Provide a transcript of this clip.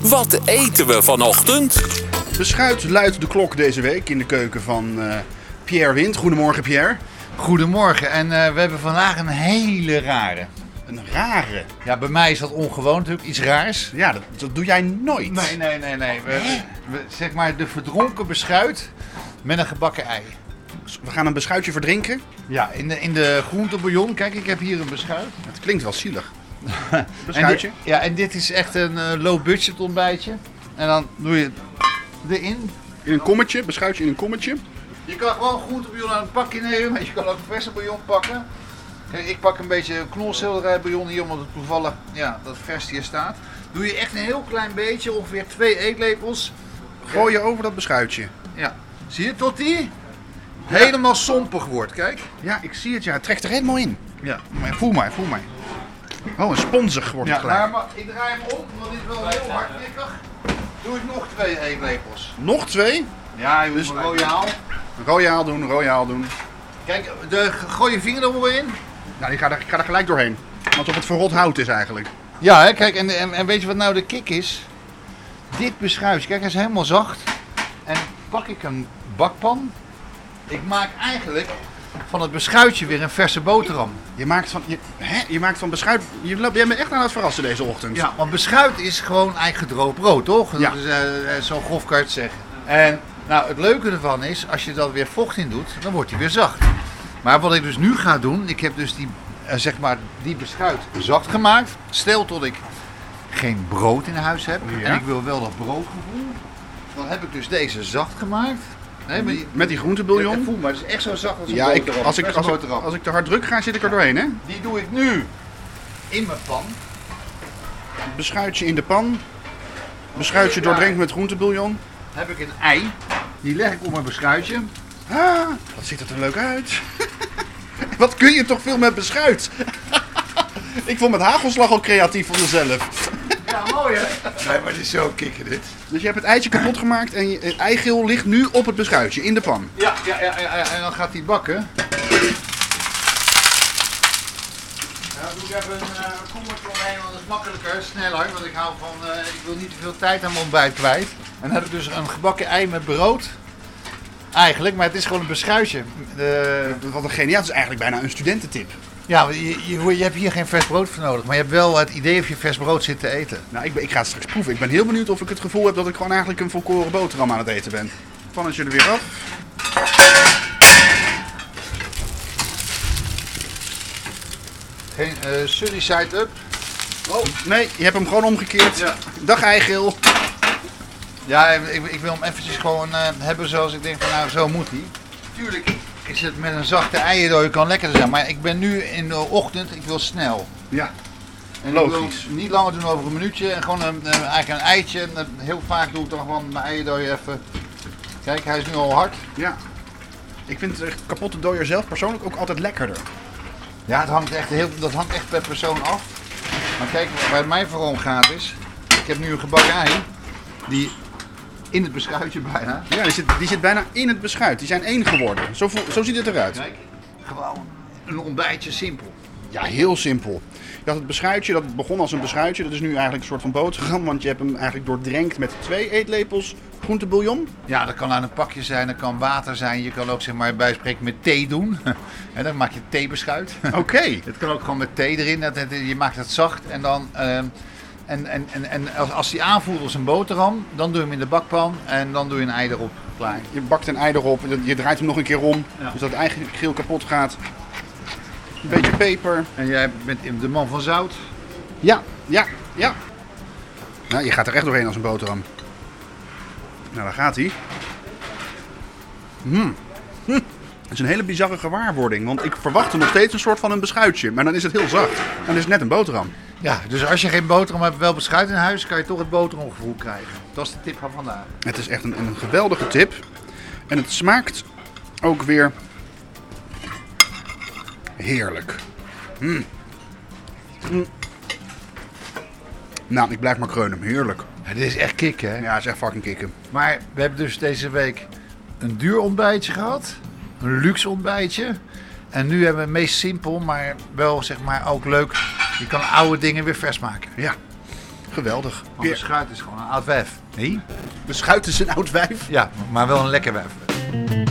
Wat eten we vanochtend? Beschuit luidt de klok deze week in de keuken van eh, Pierre Wind. Goedemorgen Pierre. Goedemorgen en eh, we hebben vandaag een hele rare. Een rare. Ja, bij mij is dat ongewoon natuurlijk, iets raars. Ja, dat, dat doe jij nooit. Nee, nee, nee, nee. We, we- zeg maar de verdronken beschuit met een gebakken ei. Dus We gaan een beschuitje verdrinken. Ja, in de, in de groentebouillon. Kijk, ik heb hier een beschuit. Het klinkt wel zielig. En dit, Beschuitje. ja, en dit is echt een eh, low-budget ontbijtje. En dan doe je het erin. In een kommetje, beschuitje in een kommetje. Je kan gewoon groentebouillon aan het pakje nemen, maar je kan ook verse bouillon pakken. Kijk, ik pak een beetje knolselderijbouillon hier, omdat het toevallig ja, dat vers hier staat. Doe je echt een heel klein beetje, ongeveer twee eetlepels. Gooi je over dat beschuitje. Ja, zie je, tot die helemaal sompig wordt, kijk. Ja, ik zie het. Ja, het trekt er helemaal in. Ja, Maar voel mij, voel mij. Oh, een sponsig wordt het ja gelijk. maar, maar ik draai hem om, want dit is wel heel hardnekkig. Doe ik nog twee eetlepels. Nog twee. Ja, dus maar- royaal. Royaal doen, royaal doen. Kijk, de, gooi je vinger er wel in. Nou, ik ga, er, ik ga er gelijk doorheen. Alsof het verrot hout is eigenlijk. Ja, hè, kijk, en, en, en weet je wat nou de kick is? Dit beschuitje, kijk, hij is helemaal zacht. En pak ik een bakpan. Ik maak eigenlijk van het beschuitje weer een verse boterham. Je maakt van, je, hè? Je maakt van beschuit... Je, loopt- jij bent echt aan het verrassen deze ochtend. Ja, want beschuit is gewoon eigen droog brood, toch? Dat Ja. is, eh, eh, zo grof kan je het zeggen. En nou, het leuke ervan is, als je dat weer vocht in doet, dan wordt hij weer zacht. Maar wat ik dus nu ga doen, ik heb dus die, eh, zeg maar, die beschuit zacht gemaakt. Stel tot ik geen brood in huis heb Ja. en ik wil wel dat broodgevoel, dan heb ik dus deze zacht gemaakt. Nee, maar je- Met die groentebouillon. Voel maar, het is echt zo zacht als een Ja, ik, boterham. als, ik, Verse als, ik, boterham. als ik te hard druk ga, zit ik er doorheen, hè? Die doe ik nu in mijn pan. Beschuitje in de pan. Beschuitje Ja. doordrenkt met groentebouillon. heb ik een ei. Die leg ik op mijn beschuitje. Ah, wat ziet het er leuk uit. wat kun je toch veel met beschuit? ik vond met hagelslag al creatief voor mezelf. Ja, mooi hè? Nee, maar het is zo kicken dit. Dus je hebt het eitje kapot gemaakt en je, het eigeel ligt nu op het beschuitje, in de pan. Ja, ja, ja, ja, ja, en dan gaat hij bakken. Ja, doe ik even een uh, kommertje omheen, want dat is makkelijker, sneller. Want ik hou van, eh, ik wil niet te veel tijd aan mijn ontbijt kwijt. En dan heb ik dus een gebakken ei met brood. Eigenlijk, maar het is gewoon een beschuitje. De, Wat een geniaal, het is eigenlijk bijna een studententip. ja, je, je, je hebt hier geen vers brood voor nodig, maar je hebt wel het idee of je vers brood zit te eten. Nou, ik, ben- ik ga het straks proeven. Ik ben heel benieuwd of ik het gevoel heb dat ik gewoon eigenlijk een volkoren boterham aan het eten ben. Pannetje er weer af. Geen eh sunny side up. Oh, nee, je hebt hem gewoon omgekeerd. Ja. Dag eigeel. Ja, ik, ik wil hem eventjes gewoon eh, hebben zoals ik denk van nou, zo moet hij. Tuurlijk is het met een zachte eierdooi kan lekker zijn, maar ik ben nu in de ochtend, ik wil snel. Ja. En Logisch. Ik wil niet langer doen over een minuutje en gewoon een, eh, eigenlijk een eitje. En eh, heel vaak doe ik dan gewoon mijn eierdooi even. Kijk, hij is nu al hard. Ja. Ik vind het echt kapotte dooier zelf persoonlijk ook altijd lekkerder. Ja, het hangt echt heel, dat hangt echt per persoon af. Maar kijk, waar het mij vooral om gaat is, ik heb nu een gebakken ei, die in het beschuitje bijna. Ja, die zit, die zit bijna in het beschuit. Die zijn één geworden. Zo, voel- zo ziet het eruit. Kijk, gewoon een ontbijtje simpel. Ja, heel simpel. Je had het beschuitje, dat begon als een beschuitje. Dat is nu eigenlijk een soort van boterham, want je hebt hem eigenlijk doordrenkt met twee eetlepels groentebouillon. Ja, dat kan aan een pakje zijn, dat kan water zijn. Je kan ook zeg maar bij spreken met thee doen. En dan maak je theebeschuit. Oké. Het kan ook gewoon met thee erin. Dat, dat- je maakt het zacht en dan. ehm, en, en, en, en als, als die aanvoelt als een boterham, dan doe je hem in de bakpan en dan doe je een ei erop. Klaar. Je bakt een ei erop, je draait hem nog een keer om, Ja. dus dat het eigenlijk geel kapot gaat. Een beetje peper. En jij bent de man van zout. Ja, ja, ja. Nou, je gaat er echt doorheen als een boterham. Nou, daar gaat hij. Hmm. Hm. Het is een hele bizarre gewaarwording, want ik verwachtte nog steeds een soort van een beschuitje. Maar dan is het heel zacht. En dan is het net een boterham. Ja, dus als je geen boterham hebt, wel beschuit in huis, kan je toch het boterhamgevoel krijgen. Dat is de tip van vandaag. Het is echt een, een geweldige tip. En het smaakt ook weer heerlijk. Mm. Mm. Nou, ik blijf maar kreunen. Heerlijk. Het is echt kicken, hè? Ja, is echt fucking kicken. Maar we hebben dus deze week een duur ontbijtje gehad, een luxe ontbijtje. En nu hebben we het meest simpel, maar wel zeg maar ook leuk. Je kan oude dingen weer vers maken. Ja. Geweldig. Want beschuit is gewoon een oud wijf. Nee? Beschuit is een oud wijf. Ja, maar wel een lekker wijf.